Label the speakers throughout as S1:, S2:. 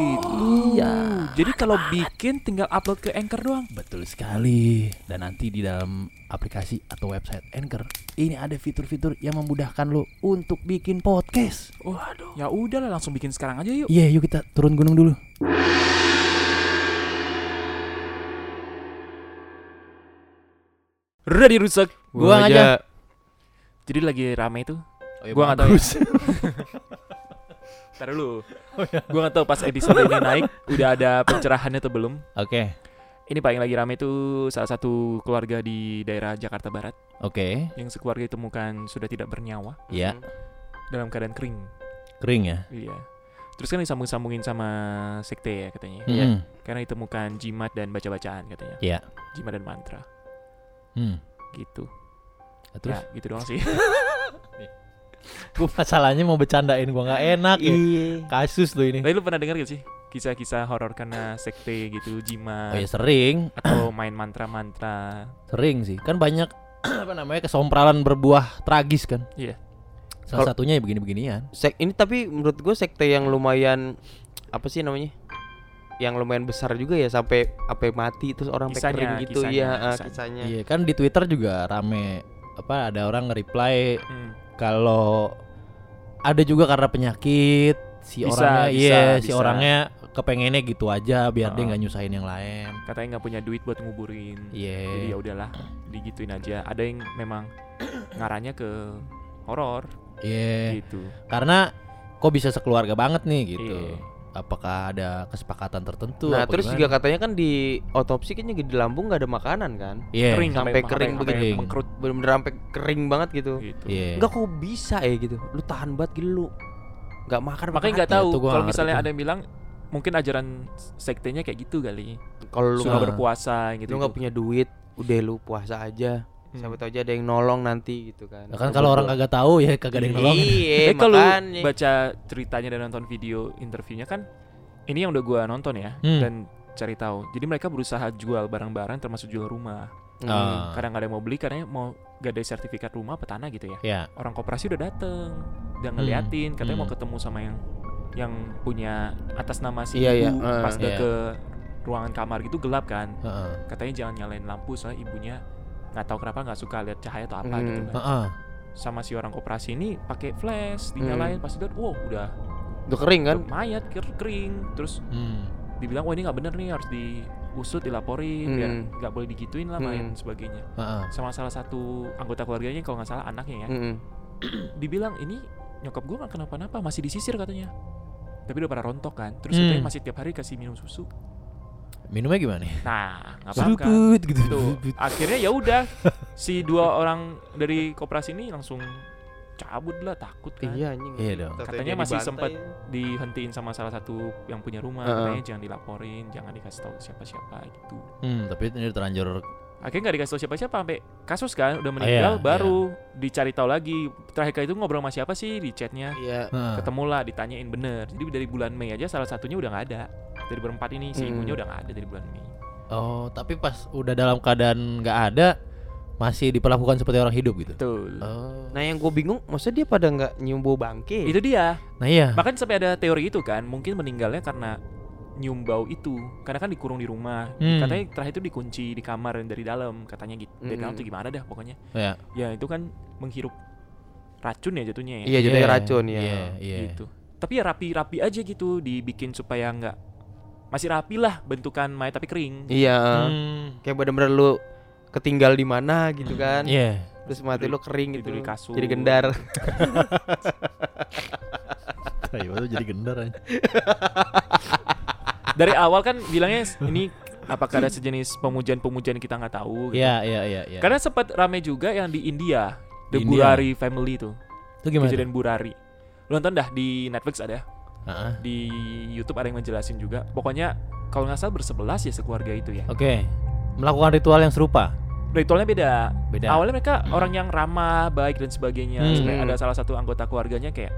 S1: gitu.
S2: Iya.
S1: Jadi kalau bikin tinggal upload ke Anchor doang.
S2: Betul sekali. Dan nanti di dalam aplikasi atau website Anchor, ini ada fitur-fitur yang memudahkan lo untuk bikin podcast.
S1: Waduh. Ya udahlah langsung bikin sekarang aja yuk.
S2: Iya, yuk kita turun gunung dulu.
S1: Ready rusak.
S2: Gua aja.
S1: Jadi lagi rame itu.
S2: Oh, iya,
S1: Gua nggak tahu ya.
S2: bagus. Oh,
S1: Ntar dulu.
S2: iya.
S1: Gua nggak tahu pas episode ini naik udah ada pencerahannya atau belum.
S2: Oke.
S1: Ini paling lagi rame itu salah satu keluarga di daerah Jakarta Barat
S2: Oke.
S1: yang sekeluarga ditemukan sudah tidak bernyawa Hmm.
S2: Iya.
S1: dalam keadaan kering.
S2: Kering ya.
S1: Iya. Terus kan disambung-sambungin sama sekte ya katanya.
S2: Iya.
S3: Hmm.
S1: Karena ditemukan jimat dan baca-bacaan katanya.
S2: Iya.
S1: Jimat dan mantra
S2: Hmm. Nah,
S1: gitu.
S2: Terus
S1: Ya, gitu doang sih.
S3: Gue masalahnya mau bercandain gue nggak enak ya.
S4: Iya.
S3: Kasus lo ini.
S1: Tapi lu pernah dengar gak sih kisah-kisah horor karena sekte
S3: Oh
S1: gitu, jimat
S2: iya,
S3: ya sering,
S1: atau main mantra-mantra?
S3: sering sih. Kan banyak apa namanya kesompralan berbuah tragis kan.
S1: Iya.
S3: Salah
S4: Kalau-
S3: satunya ya begini-beginian.
S4: Sek ini tapi menurut gue sekte yang lumayan apa sih namanya? Yang lumayan besar juga ya sampai sampai mati terus orang sampai
S1: Kisahnya,
S4: kering gitu
S1: kisahnya,
S4: ya eh,
S1: kisahnya.
S4: kisahnya.
S3: Iya, kan di Twitter juga rame apa ada orang nge-reply
S1: Hmm.
S3: kalau ada juga karena penyakit si
S1: Bisa,
S3: orangnya
S1: bisa,
S3: iya si
S1: bisa.
S3: orangnya kepengennya gitu aja biar dia
S1: Oh.
S3: nggak nyusahin yang lain.
S1: Katanya nggak punya duit buat nguburin.
S3: Iya.
S1: Jadi ya udahlah, digituin aja. Ada yang memang ngarahnya ke horor
S3: Iya.
S2: Eh,
S1: gitu.
S3: Karena kok bisa sekeluarga banget nih gitu.
S1: Iya.
S3: Apakah ada kesepakatan tertentu?
S4: Nah,
S3: apa
S4: terus
S3: gimana?
S4: juga katanya kan di otopsi kayaknya di lambung nggak ada makanan kan?
S3: Iya.
S1: Kering
S4: sampai kering
S3: begini.
S1: mengkerut
S4: Bener-bener sampai kering banget gitu.
S1: gitu.
S3: Iya.
S4: Enggak kok bisa ya gitu. Lu tahan banget gitu lu. Enggak makan
S1: Makanya
S3: Makanya
S1: nggak tahu
S3: itu gua
S1: kalau
S3: nggak ngerti
S1: misalnya
S3: tuh.
S1: ada yang bilang mungkin ajaran sektenya kayak gitu kali.
S4: kalau lu
S1: Lu
S4: nggak
S3: nggak-
S1: berpuasa gitu.
S4: lu nggak punya duit, udah lu puasa aja.
S1: Hmm.
S4: Siapa tahu aja ada yang nolong nanti gitu kan.
S3: Nah, kan kalau orang kagak tahu ya kagak ada yang nolongin.
S4: Iya,
S1: Eh, Tapi kalau
S4: makanya.
S1: baca ceritanya dan nonton video interviewnya kan ini yang udah gua nonton ya
S3: Hmm.
S1: dan cari tahu. Jadi mereka berusaha jual barang-barang termasuk jual rumah.
S4: Hmm.
S3: Ah,
S1: Kadang ada yang mau beli karena mau gak ada sertifikat rumah apa tanah gitu ya.
S3: ya.
S1: Orang koperasi udah dateng, udah ngeliatin, katanya
S3: Hmm.
S1: mau ketemu sama yang yang punya atas nama si
S4: Iya, iya,
S1: ibu.
S4: eh,
S1: Pas udah
S3: iya.
S1: ke ruangan kamar gitu gelap kan.
S3: Heeh.
S1: Katanya jangan nyalain lampu soalnya ibunya nggak tahu kenapa nggak suka lihat cahaya atau apa
S4: Hmm.
S1: gitu kan.
S3: Heeh.
S1: Sama si orang koperasi ini pakai flash dinyalain pas itu wow udah
S4: Udah kering Hmm. kan?
S1: mayat ker- kering terus
S3: Hmm.
S1: dibilang wah ini nggak bener nih harus diusut dilaporin biar
S4: Hmm.
S1: nggak boleh digituin lah main
S4: Hmm.
S1: sebagainya
S3: Heeh.
S1: sama salah satu anggota keluarganya kalau nggak salah anaknya ya
S4: Mm-mm.
S1: dibilang ini nyokap gue nggak kenapa-napa masih disisir katanya tapi udah pada rontok kan terus
S3: Hmm.
S1: katanya masih tiap hari kasih minum susu
S3: Minumnya gimana? ya?
S1: nah nggak apa-apa kan
S3: Seruput gitu.
S1: Tuh, akhirnya ya udah si dua orang dari koperasi ini langsung cabut lah takut kan
S4: Iya anjing.
S3: Iya dong.
S4: Tatonya
S1: Katanya masih
S4: dibantai.
S1: sempet dihentiin sama salah satu yang punya rumah
S4: Heeh.
S1: katanya jangan dilaporin jangan dikasih tahu siapa-siapa gitu
S3: Hmm, tapi ini terlanjur.
S1: akhirnya nggak dikasih tahu siapa-siapa sampai kasus kan udah meninggal
S3: iya.
S1: baru dicari tahu lagi terakhir kali itu ngobrol sama siapa sih di chatnya
S4: Iya.
S3: Heeh.
S1: ketemulah ditanyain bener jadi dari bulan Mei aja salah satunya udah nggak ada dari berempat ini si
S4: Mm.
S1: ibunya udah nggak ada dari bulan Mei
S3: Oh, tapi pas udah dalam keadaan nggak ada masih diperlakukan seperti orang hidup gitu.
S1: betul
S3: Oh.
S4: Nah yang gue bingung, maksudnya dia pada nggak nyium bau bangke?
S1: itu dia
S3: Nah, iya.
S1: makanya sampai ada teori itu kan mungkin meninggalnya karena nyium bau itu karena kan dikurung di rumah
S3: Hmm.
S1: katanya terakhir itu dikunci di kamar dari dalam katanya gitu dari dalam
S4: Mm.
S1: tuh gimana dah pokoknya
S3: Iya.
S1: ya itu kan menghirup racun ya jatuhnya ya
S4: Iya jadinya racun ya.
S3: Iya, iya.
S1: gitu. Tapi ya rapi-rapi aja gitu dibikin supaya nggak masih rapi lah bentukan mayat tapi kering.
S4: Iya.
S3: Hmm.
S4: Kayak bener-bener lu ketinggal di mana gitu kan?
S3: Iya.
S4: Terus mati lu kering gitu.
S1: Tidur di kasur.
S4: Jadi gendar.
S3: Tai banget jadi gendar aja.
S1: Dari awal kan bilangnya s- ini apakah ada sejenis pemujian-pemujian kita nggak tahu. gitu.
S3: Iya, iya, iya, iya.
S1: Karena sempat rame juga yang di India,
S3: Di
S1: The
S3: India.
S1: Burari Family itu,
S3: itu gimana?
S1: kejadian Burari. Lu nonton dah di Netflix ada,
S3: Heeh.
S1: di YouTube ada yang ngejelasin juga. Pokoknya kalau nggak salah bersebelas ya sekeluarga itu ya.
S3: Oke. Melakukan ritual yang serupa.
S1: Ritualnya beda.
S3: Beda.
S1: Awalnya mereka orang yang ramah, baik dan sebagainya.
S3: Ya. Hmm.
S1: Sampai ada salah satu anggota keluarganya kayak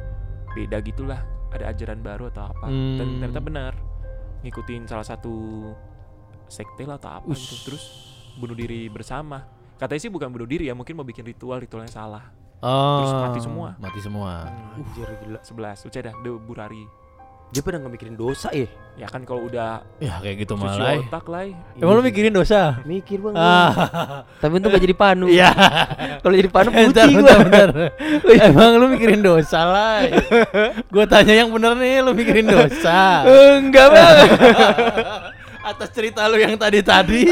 S1: beda gitulah, ada ajaran baru atau apa. Dan
S3: Hmm.
S1: ternyata benar ngikutin salah satu sekte lah atau apa
S3: Us.
S1: gitu. Terus bunuh diri bersama. Katanya sih bukan bunuh diri ya, mungkin mau bikin ritual, ritualnya salah.
S3: Oh,
S1: Terus mati semua.
S3: Mati semua.
S4: Anjir gila.
S1: 11 udah dah The Burari
S4: Dia pada nggak mikirin dosa ya?
S1: ya kan kalau udah
S3: Ya kayak gitu
S1: cuci
S3: malah.
S1: otak lah
S3: Emang lu mikirin dosa?
S4: Iya. Mikir bang.
S3: Ah,
S4: Tapi untung gak jadi panu.
S3: iya.
S4: Kalau jadi panu
S3: Bentar,
S4: putih
S3: bentar,
S4: gua.
S3: bentar. Emang lu mikirin dosa lah. Gua tanya yang bener nih, lu mikirin dosa.
S4: Enggak bang.
S3: Atas cerita lu yang tadi-tadi.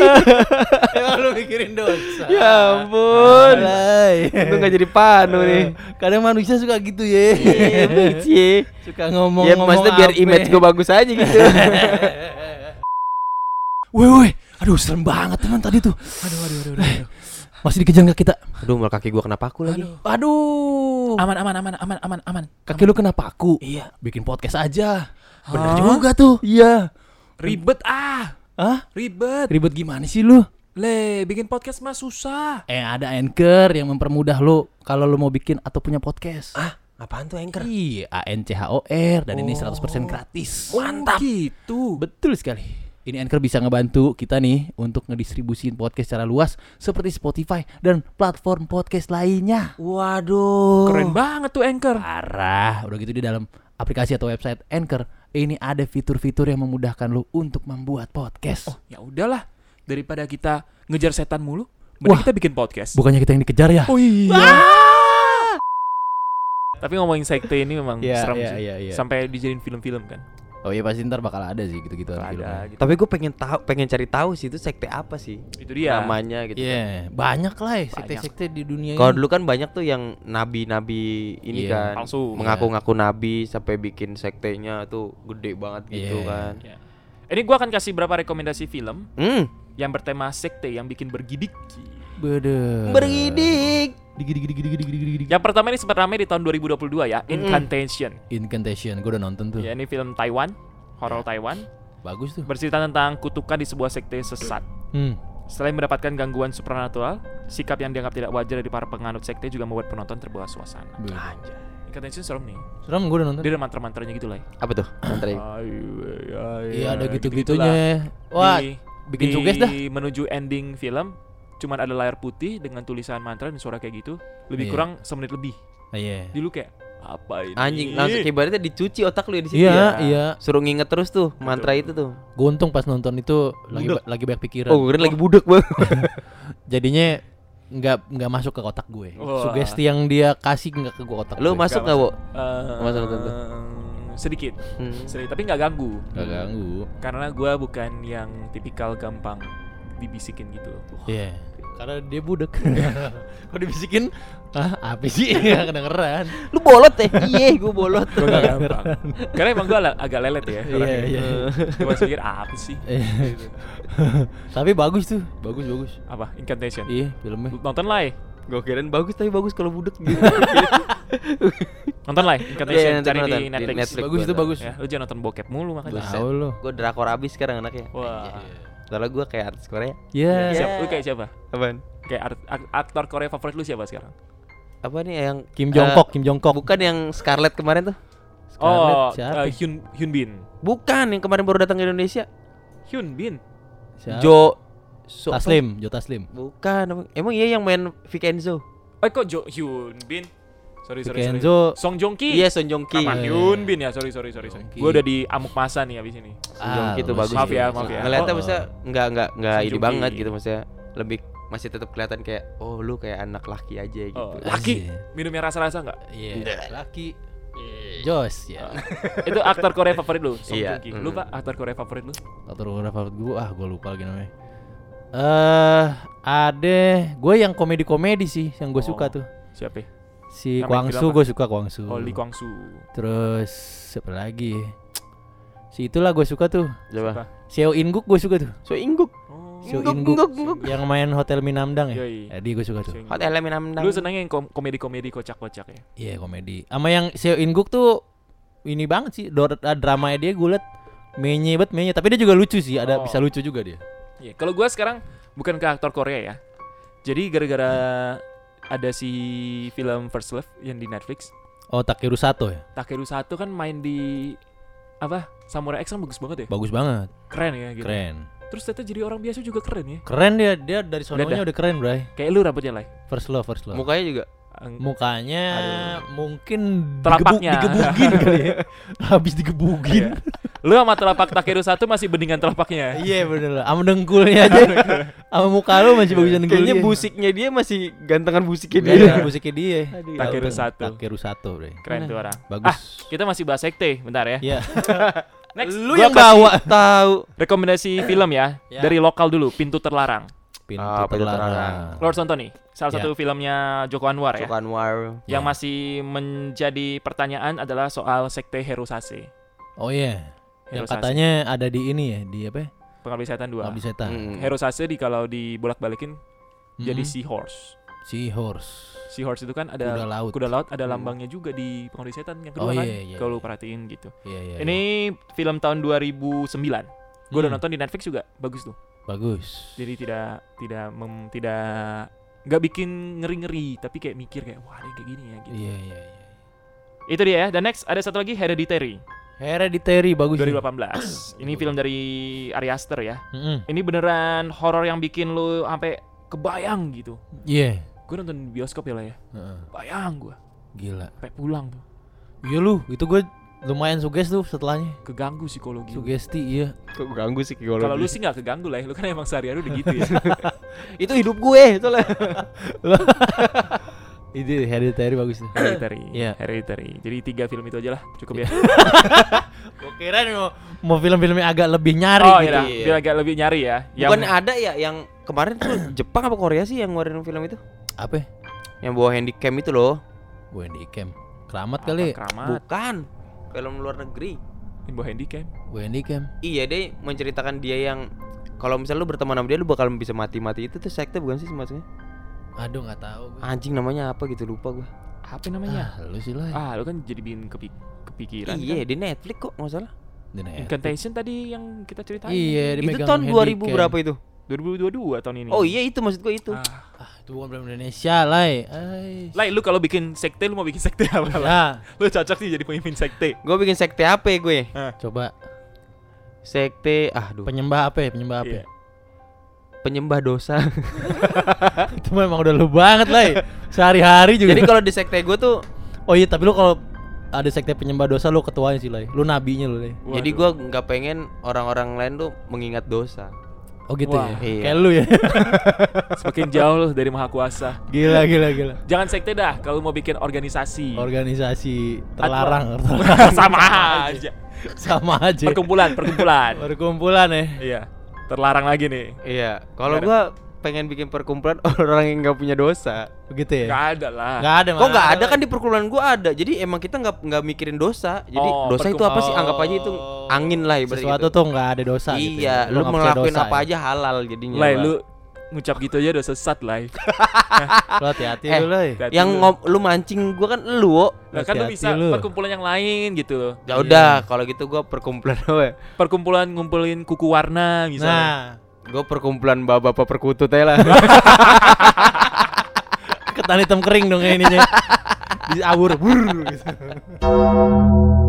S3: Emang lu mikirin dosa.
S4: ya ampun.
S3: Alay.
S4: Untung gak jadi panu nih.
S3: Eh, Kadang manusia suka gitu ya.
S4: Iya, Bang.
S3: suka ngomong
S4: Ya maksudnya biar image gue bagus aja gitu.
S2: Woi woi, aduh serem banget teman tadi tuh. Aduh aduh aduh aduh. aduh. Masih dikejar nggak kita?
S4: Aduh, mal kaki gua kenapa aku lagi?
S2: Aduh.
S1: aman aman aman aman aman aman
S2: Kaki lu kenapa aku? Iya. Bikin podcast aja. Bener juga tuh. Iya.
S1: ribet ah
S2: Hah?
S1: ribet
S2: Ribet gimana sih lu?
S1: le bikin podcast mah susah
S2: Eh ada Anchor yang mempermudah lu kalau lu mau bikin atau punya podcast.
S4: Ah, apaan tuh anchor?
S2: Iya, A N C H O R dan ini 100% gratis.
S3: Oh,
S1: mantap gitu
S2: Betul sekali. Ini Anchor bisa ngebantu kita nih untuk ngedistribusin podcast secara luas seperti Spotify dan platform podcast lainnya.
S4: Waduh.
S1: keren banget tuh anchor
S2: Parah, udah gitu di dalam aplikasi atau website Anchor ini ada fitur-fitur yang memudahkan lu untuk membuat podcast.
S1: ya udahlah daripada kita ngejar setan mulu mending
S2: Wah.
S1: kita bikin podcast
S2: Bukannya kita yang dikejar ya?
S1: oh iya tapi ngomongin sekte ini memang
S3: Iya,
S1: serem
S3: iya,
S1: sih
S3: iya, iya.
S1: sampai dijadiin film-film kan
S3: Oh iya pasti ntar bakal ada sih gitu-gitu
S1: ada gitu
S4: Tapi gue pengen tahu, pengen cari tahu sih itu sekte apa sih
S1: itu dia
S4: namanya gitu.
S3: Iya, banyak lah ya
S1: Banyak.
S3: sekte-sekte di dunia
S4: Kalau
S3: ini.
S4: dulu kan banyak tuh yang nabi-nabi ini
S3: Iya.
S4: kan
S1: palsu
S4: mengaku-ngaku nabi sampai bikin sektenya tuh gede banget
S3: Iya.
S4: gitu kan.
S1: Ya. ini gua akan kasih berapa rekomendasi film
S4: Hmm,
S1: yang bertema sekte yang bikin bergidik.
S2: Bede.
S4: bergidik.
S3: digi digi digi digi digi digi.
S1: Yang pertama ini sempat ramai di tahun 2022 ya,
S4: Mm-mm.
S1: Incantation.
S2: Incantation, gue udah nonton tuh.
S1: Ya
S4: Iya.
S1: ini film Taiwan, horor Taiwan,
S3: Bagus Ya. tuh.
S1: bercerita tentang kutukan di sebuah sekte sesat.
S3: Hmm.
S1: Selain mendapatkan gangguan supranatural, sikap yang dianggap tidak wajar dari para penganut sekte juga membuat penonton terbawa suasana.
S3: Bede.
S1: Incantation serem nih.
S3: Serem gue udah nonton.
S1: Dia ada mantra-mantranya gitu lah. ya.
S4: Apa tuh? Antri.
S3: Iya ada
S1: Gitu-gitulah.
S3: gitu-gitunya. Wah,
S1: Di-
S3: bikin
S1: di
S3: suges dah.
S1: menuju ending film cuman ada layar putih dengan tulisan mantra dan suara kayak gitu lebih
S3: Iya.
S1: kurang semenit lebih
S3: Iya.
S1: dulu kayak apa ini
S4: Anjing langsung ibaratnya dicuci otak lu ya di situ.
S3: Iya,
S4: ya.
S3: iya.
S4: Suruh nginget terus tuh mantra itu tuh.
S3: Gue untung pas nonton itu lagi ba- lagi banyak pikiran.
S4: Oh, gue lagi budek banget.
S3: Jadinya nggak nggak masuk ke otak gue.
S1: Wah.
S3: Sugesti yang dia kasih nggak ke gue otak.
S4: Lu
S3: gue.
S1: masuk.
S4: masuk enggak, Wo?
S1: Eh,
S4: Masa nonton tuh?
S1: sedikit
S4: Hmm.
S1: sedikit tapi nggak ganggu
S3: Nggak ganggu.
S1: karena gua bukan yang tipikal gampang dibisikin gitu
S3: Iya. Karena dia budek. Kalau dibisikin, ah apa sih? Nggak kedengeran.
S4: Lu bolot ya? Iya, gue bolot.
S1: Gua nggak gampang karena emang gua ala- agak lelet
S3: Iya,
S1: ya orangnya.
S3: iya.
S1: Gua masih mikir apa sih
S3: Eh. Tapi bagus tuh. Bagus bagus.
S1: apa incantation
S3: Iya filmnya.
S1: nonton lah ya.
S4: Gue kirain bagus tapi bagus kalau budek gitu.
S1: nonton lah ya, incantation
S4: Iya, nanti
S1: cari di
S4: nonton. Di
S1: Netflix,
S4: Netflix.
S3: Bagus itu
S4: gua
S3: bagus.
S1: Ya, lu jangan nonton bokep mulu makanya
S3: Tahu lo.
S4: gue drakor abis sekarang anaknya.
S3: Iya,
S1: wah
S4: Soalnya gue kayak artis Korea.
S3: Ya.
S4: Iya.
S1: siapa lu kayak siapa
S4: Apaan?
S1: kayak art- ak- aktor Korea favorit lu siapa sekarang
S4: Apa nih yang
S3: Kim
S4: eh,
S3: Jongkok, Kim Jongkok.
S4: bukan yang Scarlett kemarin tuh?
S3: Scarlett
S1: oh
S3: siapa?
S1: eh, Hyun Hyun Bin
S4: Bukan yang kemarin baru datang ke Indonesia.
S1: Hyun Bin
S3: Siapa?
S4: Jo So-
S3: Taslim, Jo Taslim.
S4: Bukan. apa- Emang iya yang main Vikenzo.
S1: eh kok Jo Hyun Bin sorry sorry sorry
S3: Kenzo.
S1: Song Joong Ki
S4: Iya Son Jong Ki.
S1: Nama
S3: Iya.
S1: Hyun Bin ya, sorry sorry sorry. sorry.
S3: Hyun Bin.
S1: Gue udah di amuk masa nih abis ini.
S4: Son Jong Ki tuh
S3: Ah,
S4: bagus.
S1: Maaf
S4: sih.
S1: ya, maaf ya.
S4: Ngeliatnya
S3: Oh,
S4: maksudnya nggak nggak nggak
S1: Son
S4: ini
S1: Jong Ki.
S4: banget gitu maksudnya. Lebih masih tetap kelihatan kayak oh lu kayak anak laki aja gitu.
S1: Oh, laki
S3: Iya.
S1: minumnya rasa-rasa nggak?
S3: Iya. Laki. Jos ya.
S1: Itu aktor Korea favorit lu, Song
S4: Iya,
S1: Joong
S3: Hmm.
S1: Ki.
S4: mm.
S1: Lu pak aktor Korea favorit lu?
S3: Aktor Korea favorit gue ah gue lupa lagi namanya. Eh, ada gue yang komedi-komedi sih yang gue
S1: Oh.
S3: suka tuh.
S1: Siapa? ya?
S3: Si
S1: Nama
S3: Kwang
S1: film
S3: Su
S1: apa?
S3: gue suka Kwang Su.
S1: Oh, Lee Kwang Soo.
S3: Terus siapa lagi? Si itulah gue suka tuh.
S4: Coba.
S1: Siapa?
S3: Seo In Guk gue suka tuh.
S4: So Ingguk.
S1: Oh.
S3: Show
S4: Ngguk,
S3: Inggu
S4: ngguk, ngguk.
S3: yang main Hotel Minamdang ya.
S1: Yoi.
S3: Jadi gue suka tuh.
S4: Hot elemen
S1: Lu seneng yang kom- komedi-komedi kocak-kocak ya?
S3: Iya komedi. Sama yang Seo Inguk tuh ini banget sih dor- ah, dramanya dia gue liat menye bet menye tapi dia juga lucu sih ada
S1: Oh.
S3: bisa lucu juga dia
S1: Iya, kalau gua sekarang bukan ke aktor Korea ya. Jadi gara-gara ada si film First Love yang di Netflix,
S3: oh Takeru Sato ya
S1: Takeru Sato kan main di apa? Samurai X kan bagus banget ya.
S3: bagus banget
S1: Keren ya gitu.
S3: keren
S1: Terus ternyata jadi orang biasa juga keren ya.
S3: keren dia dia dari sononya
S1: dah.
S3: udah keren bray
S1: Kayak lu rambutnya lah.
S3: first love first love
S4: Mukanya juga
S3: mukanya mungkin
S1: Telapaknya.
S3: digebu- digebugin kali ya habis digebugin
S1: Lu sama telapak Takeru Sato masih beningan telapaknya.
S3: iya bener lah sama dengkulnya aja sama muka lu masih bagusan dengkul
S4: Kayaknya
S3: dia.
S4: busiknya dia masih gantengan busiknya dia.
S3: Iya, busiknya dia
S1: Takeru Sato.
S3: Takeru Sato bray
S1: Keren tuh orang.
S3: bagus
S1: Kita masih bahas sekte bentar ya.
S3: Iya.
S1: Next,
S3: lu
S1: gua
S3: yang
S1: kasih
S3: bawa tahu
S1: rekomendasi film ya
S3: Ya.
S1: dari lokal dulu, Pintu Terlarang.
S3: pintu
S4: Ah, pintu
S3: terlarang
S4: terlarang.
S1: Lord Sontoni,
S3: Ya.
S1: salah satu filmnya Joko Anwar ya.
S4: Joko Anwar.
S1: Yang
S3: Ya.
S1: masih menjadi pertanyaan adalah soal sekte Herosase.
S3: oh iya yang
S1: Herosase,
S3: katanya ada di ini ya di apa ya?
S1: pengabdi setan 2.
S3: Abdi setan
S4: Hmm.
S1: Herosase di kalau
S3: Mhm.
S1: dibolak-balikin
S3: Mm-mm.
S1: jadi seahorse.
S3: seahorse
S1: Seahorse itu kan
S3: kuda
S1: ada
S3: laut
S1: kuda laut, ada
S4: Hmm.
S1: lambangnya juga di pengabdi setan yang
S3: Oh,
S1: kedua kan.
S3: iya, iya,
S1: kalau lu
S3: iya.
S1: perhatiin gitu.
S3: Iya, iya,
S1: Ini
S3: iya.
S1: film tahun 2009. Gue
S3: Hmm,
S1: udah nonton di Netflix juga, bagus tuh.
S3: bagus
S1: Jadi tidak tidak mem, tidak nggak bikin ngeri-ngeri, tapi kayak mikir kayak wah ada yang kayak gini ya gitu.
S3: iya iya iya
S1: Itu dia ya. Dan next ada satu lagi Hereditary
S3: Hereditary bagus ya.
S1: 2018. Ini film dari Ari Aster ya.
S3: Mm-mm.
S1: Ini beneran horor yang bikin lu sampai kebayang gitu.
S3: Iya.
S1: Gue nonton bioskop ya lah ya.
S3: Heeh,
S1: Bayang gua
S3: Gila.
S1: sampai pulang tuh.
S3: Iya lu, itu gue lumayan suges tuh setelahnya.
S1: Keganggu psikologi. gua.
S3: Sugesti iya.
S4: Kok ganggu sih
S1: Kalau lu sih nggak keganggu lah ya. Lu kan emang sehari-hari udah gitu ya.
S4: itu hidup gue itu lah.
S3: Itu hereditary bagus tuh.
S1: Hereditary.
S3: Iya.
S1: Hereditary. Jadi tiga film itu aja lah. Cukup ya.
S3: gue kira nih mau, mau film-film yang agak lebih nyari
S1: Oh
S3: gitu.
S1: iya.
S4: Iya.
S1: Biar agak lebih nyari ya.
S4: Bukan ada ya yang kemarin tuh Jepang apa Korea sih yang ngeluarin film itu?
S3: Apa? ya?
S4: Yang bawa handycam itu loh.
S3: Wendy Camp. Keramat
S1: apa,
S3: kali. ya?
S1: Keramat.
S4: Bukan. Film luar negeri.
S1: Imbo handicap.
S3: Wendy Camp.
S4: Iya, dia menceritakan dia yang kalau misalnya lu berteman sama dia lu bakal bisa mati-mati itu tuh sekte bukan sih maksudnya?
S3: Aduh nggak tahu. gua.
S4: Anjing namanya apa gitu lupa gua.
S1: Apa namanya?
S3: Ah, lu sih lah.
S1: Ah, lu kan jadi bikin kepik- kepikiran.
S4: Iya,
S1: Kan?
S4: di Netflix kok nggak salah.
S3: Di net.
S1: Incantation tadi yang kita ceritain.
S3: Iya, dia
S4: itu
S3: megang
S4: tahun 2000
S3: handicam.
S4: berapa itu?
S1: 2022 tahun ini.
S4: Oh iya itu maksud gua itu.
S1: Hmm. Ah.
S3: Ah, itu bukan film Indonesia, Lai. Ai.
S1: Lai, lu kalau bikin sekte lu mau bikin sekte apa? Lai?
S3: Ya,
S1: Lu cocok sih jadi pemimpin sekte.
S4: Gua bikin sekte apa ya gue?
S3: coba
S4: Sekte aduh,
S3: penyembah apa ya? Penyembah apa?
S1: Iya.
S3: ya?
S4: penyembah dosa.
S3: Itu memang udah lu banget, Lai. Sehari-hari juga.
S4: Jadi kalau di sekte gue tuh
S3: Oh iya, tapi lu kalau ada sekte penyembah dosa lu ketuanya sih, Lai. Lu nabinya lu, Lai.
S4: Jadi gua nggak pengen orang-orang lain tuh mengingat dosa.
S3: Oh gitu
S1: Wah,
S3: ya.
S4: iya.
S3: Kayak lu ya.
S1: semakin jauh lu dari maha kuasa.
S3: gila gila gila.
S1: Jangan sekte dah kalau mau bikin
S3: Hmm.
S1: organisasi.
S3: Organisasi terlarang, terlarang.
S1: sama aja.
S3: sama aja.
S1: Perkumpulan, perkumpulan.
S3: Perkumpulan ya.
S1: iya. Terlarang lagi nih.
S4: Iya, kalau gua pengen bikin perkumpulan orang yang nggak punya dosa.
S3: Begitu ya.
S1: Nggak ada lah.
S3: Nggak ada.
S4: Kok nggak ada kan di perkumpulan gua ada. Jadi emang kita nggak nggak mikirin dosa. Jadi
S1: Oh,
S4: dosa itu
S1: perkum-
S4: apa sih? Anggap aja itu angin lah ibaratnya.
S3: Sesuatu
S4: gitu.
S3: tuh nggak ada dosa gitu. ya.
S4: Iya, lu
S3: nggak percaya
S4: ngelakuin
S3: dosa
S4: apa
S3: ya.
S4: aja halal jadinya.
S1: Lai,
S4: Bang.
S1: lu ngucap gitu aja udah sesat, Lai.
S3: Lu hati-hati
S4: Eh,
S3: lu, Lai.
S1: Hati-hati
S4: yang
S1: lu.
S4: ngom lu mancing gua kan lu. Wo.
S1: Lah kan lu
S3: Hati-hati
S1: bisa
S3: lu.
S1: perkumpulan yang lain gitu loh.
S4: Ya udah, kalau gitu gua perkumpulan apa? ya?
S1: Perkumpulan ngumpulin kuku warna misalnya.
S3: Nah,
S4: Gua perkumpulan bapak-bapak perkutut aja lah.
S3: ketan hitam kering dong ya ininya. Diabur bur gitu.